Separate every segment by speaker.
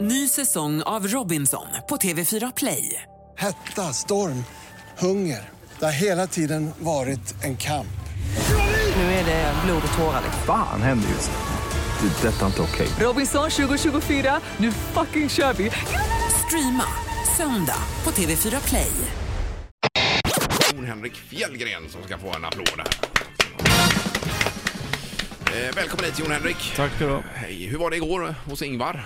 Speaker 1: Ny säsong av Robinson på TV4 Play.
Speaker 2: Hetta, storm, hunger. Det har hela tiden varit en kamp.
Speaker 1: Nu är det blod och tårar. liksom.
Speaker 3: Fan händer just nu. Det. är Detta är inte okej.
Speaker 1: Robinson 2024, nu fucking kör vi! Streama söndag på TV4 Play.
Speaker 4: Jon Henrik Fjällgren som ska få en applåd här. Eh, välkommen hit Jon Henrik.
Speaker 5: Tack ska du ha.
Speaker 4: Hej, hur var det igår hos Ingvar?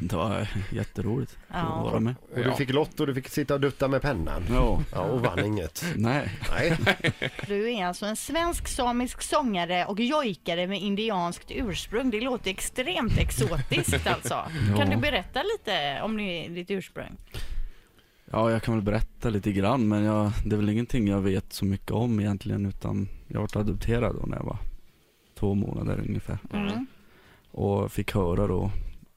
Speaker 5: Det var jätteroligt att vara med.
Speaker 6: Och du fick lott och du fick sitta och dutta med pennan.
Speaker 5: Ja.
Speaker 6: Ja, och vann inget.
Speaker 5: Nej.
Speaker 6: Nej.
Speaker 7: Du är alltså en svensk-samisk sångare och jojkare med indianskt ursprung. Det låter extremt exotiskt alltså. Kan du berätta lite om ni- ditt ursprung?
Speaker 5: Ja, jag kan väl berätta lite grann men jag, det är väl ingenting jag vet så mycket om egentligen utan jag vart adopterad då när jag var två månader ungefär.
Speaker 7: Mm.
Speaker 5: Och fick höra då,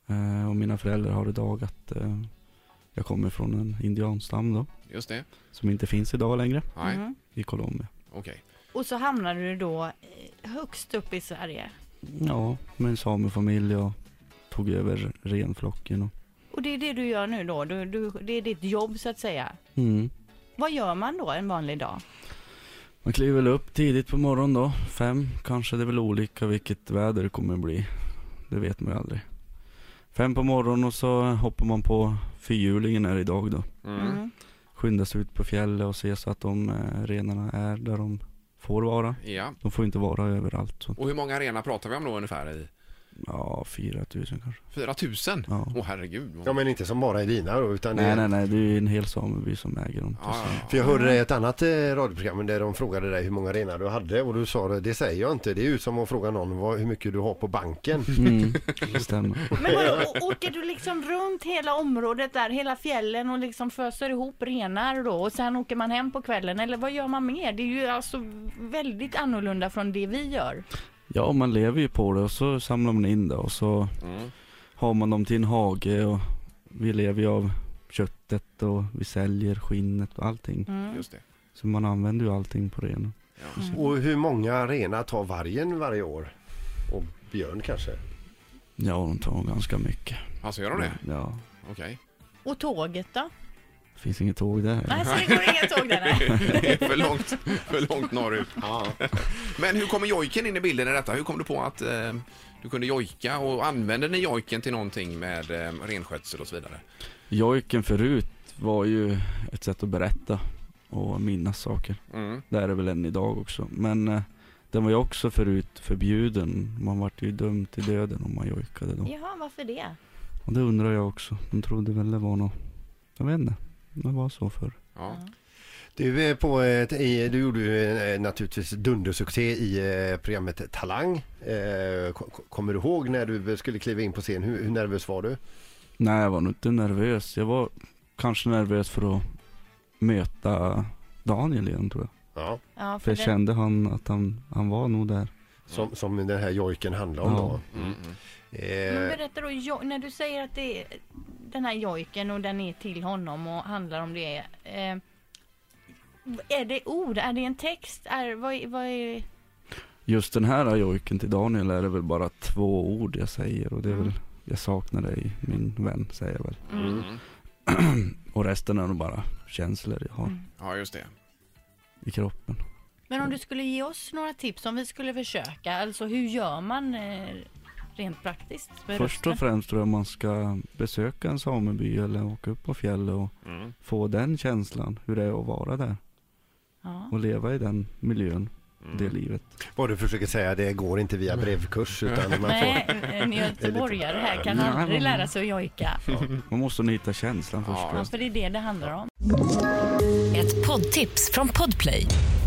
Speaker 5: eh, och mina föräldrar har idag att eh, jag kommer från en indianstam då,
Speaker 4: Just det.
Speaker 5: som inte finns idag längre
Speaker 4: Nej,
Speaker 7: Mm.
Speaker 5: i Colombia.
Speaker 4: okej.
Speaker 7: Och så hamnade du då eh, högst upp i Sverige.
Speaker 5: Ja, med en samefamilj och tog över renflocken och,
Speaker 7: Och det är det du gör nu då? Du, du, det är ditt jobb så att säga.
Speaker 5: mm.
Speaker 7: Vad gör man då en vanlig dag?
Speaker 5: Man kliver väl upp tidigt på morgonen då, fem kanske, det är väl olika vilket väder det kommer bli. Det vet man ju aldrig. Fem på morgonen och så hoppar man på fyrhjulingen här idag då.
Speaker 4: Mm.
Speaker 5: Skyndas ut på fjället och ser så att de eh, renarna är där de får vara.
Speaker 4: Ja.
Speaker 5: De får inte vara överallt så,
Speaker 4: Och hur många arenar pratar vi om då ungefär? I
Speaker 5: ja, 4000 kanske.
Speaker 4: 4000? Åh
Speaker 5: Ja.
Speaker 4: herregud.
Speaker 6: Ja, men inte som bara är dina då, utan det-
Speaker 5: Nej nej nej, det är ju en hel sameby som äger dem.
Speaker 4: Ja, ja,
Speaker 6: För jag hörde dig i ett annat eh, radioprogram där de frågade dig hur många renar du hade och du sa det, det säger jag inte. Det är ju som att fråga någon vad, hur mycket du har på banken.
Speaker 5: Mm, det stämmer.
Speaker 7: Men vadå, å- åker du liksom runt hela området där, hela fjällen och liksom föser ihop renar då och sen åker man hem på kvällen eller vad gör man mer? Det är ju alltså väldigt annorlunda från det vi gör.
Speaker 5: Ja, man lever ju på det och så samlar man in det och så har man dem till en hage och vi lever ju av köttet och vi säljer skinnet och allting.
Speaker 4: ja. Just det.
Speaker 5: Så man använder ju allting på renen.
Speaker 6: Och hur många renar tar vargen varje år? Och björn kanske?
Speaker 5: Ja, de tar ganska mycket.
Speaker 4: Alltså gör de det?
Speaker 5: Ja,
Speaker 4: Okej.
Speaker 7: Och tåget då?
Speaker 5: det finns inget tåg där.
Speaker 7: Nej, så det går inga tåg där. nej.
Speaker 4: Det är för långt, för långt norrut. Men hur kommer jojken in i bilden i detta? Hur kom du på att eh, du kunde jojka och använde ni jojken till någonting med eh, renskötsel och så vidare?
Speaker 5: Jojken förut var ju ett sätt att berätta och minnas saker.
Speaker 4: Mm.
Speaker 5: Det är det väl än idag också. Men eh, den var ju också förut förbjuden. Man vart ju dömd till döden om man jojkade då.
Speaker 7: Jaha, varför det?
Speaker 5: Och det undrar jag också. De trodde väl det var något, jag vet inte. Det var så förr.
Speaker 4: Ja.
Speaker 6: Du, är eh, på ett, i, du gjorde ju eh, naturligtvis dundersuccé i eh, programmet Talang. Eh, ko- ko- Kommer du ihåg när du skulle kliva in på scen? Hur, hur nervös var du?
Speaker 5: Nej jag var nog inte nervös. Jag var kanske nervös för att möta Daniel igen tror jag.
Speaker 6: Ja.
Speaker 7: Ja,
Speaker 5: För jag
Speaker 7: den-
Speaker 5: kände han att han, han var nog där.
Speaker 6: Som, som den här jojken handlar om
Speaker 5: Ja.
Speaker 6: då.
Speaker 7: Men
Speaker 6: Eh,
Speaker 7: berätta då, jo- när du säger att det är den här jojken och den är till honom och handlar om det. Eh, är det ord? Är det en text? Är, vad, är- vad är...
Speaker 5: Just den här jojken till Daniel är det väl bara två ord jag säger och det är väl Jag saknar dig min vän säger jag väl.
Speaker 4: Mm-hmm.
Speaker 5: och resten är nog bara känslor jag har
Speaker 4: ja, just det.
Speaker 5: i kroppen.
Speaker 7: Men om du skulle ge oss några tips om vi skulle försöka, alltså hur gör man eh, rent praktiskt? med
Speaker 5: Först
Speaker 7: rösten?
Speaker 5: och främst tror jag man ska besöka en sameby eller åka upp på fjället och få den känslan, hur det är att vara där.
Speaker 7: Ja.
Speaker 5: Och leva i den miljön, det livet.
Speaker 6: vad du försöker säga, det går inte via brevkurs utan man får...
Speaker 7: Nej, eh, en göteborgare här kan aldrig lära sig att jojka.
Speaker 5: Man måste nog hitta känslan först.
Speaker 7: Ja, för det är det det handlar om.
Speaker 8: Ett poddtips från Podplay.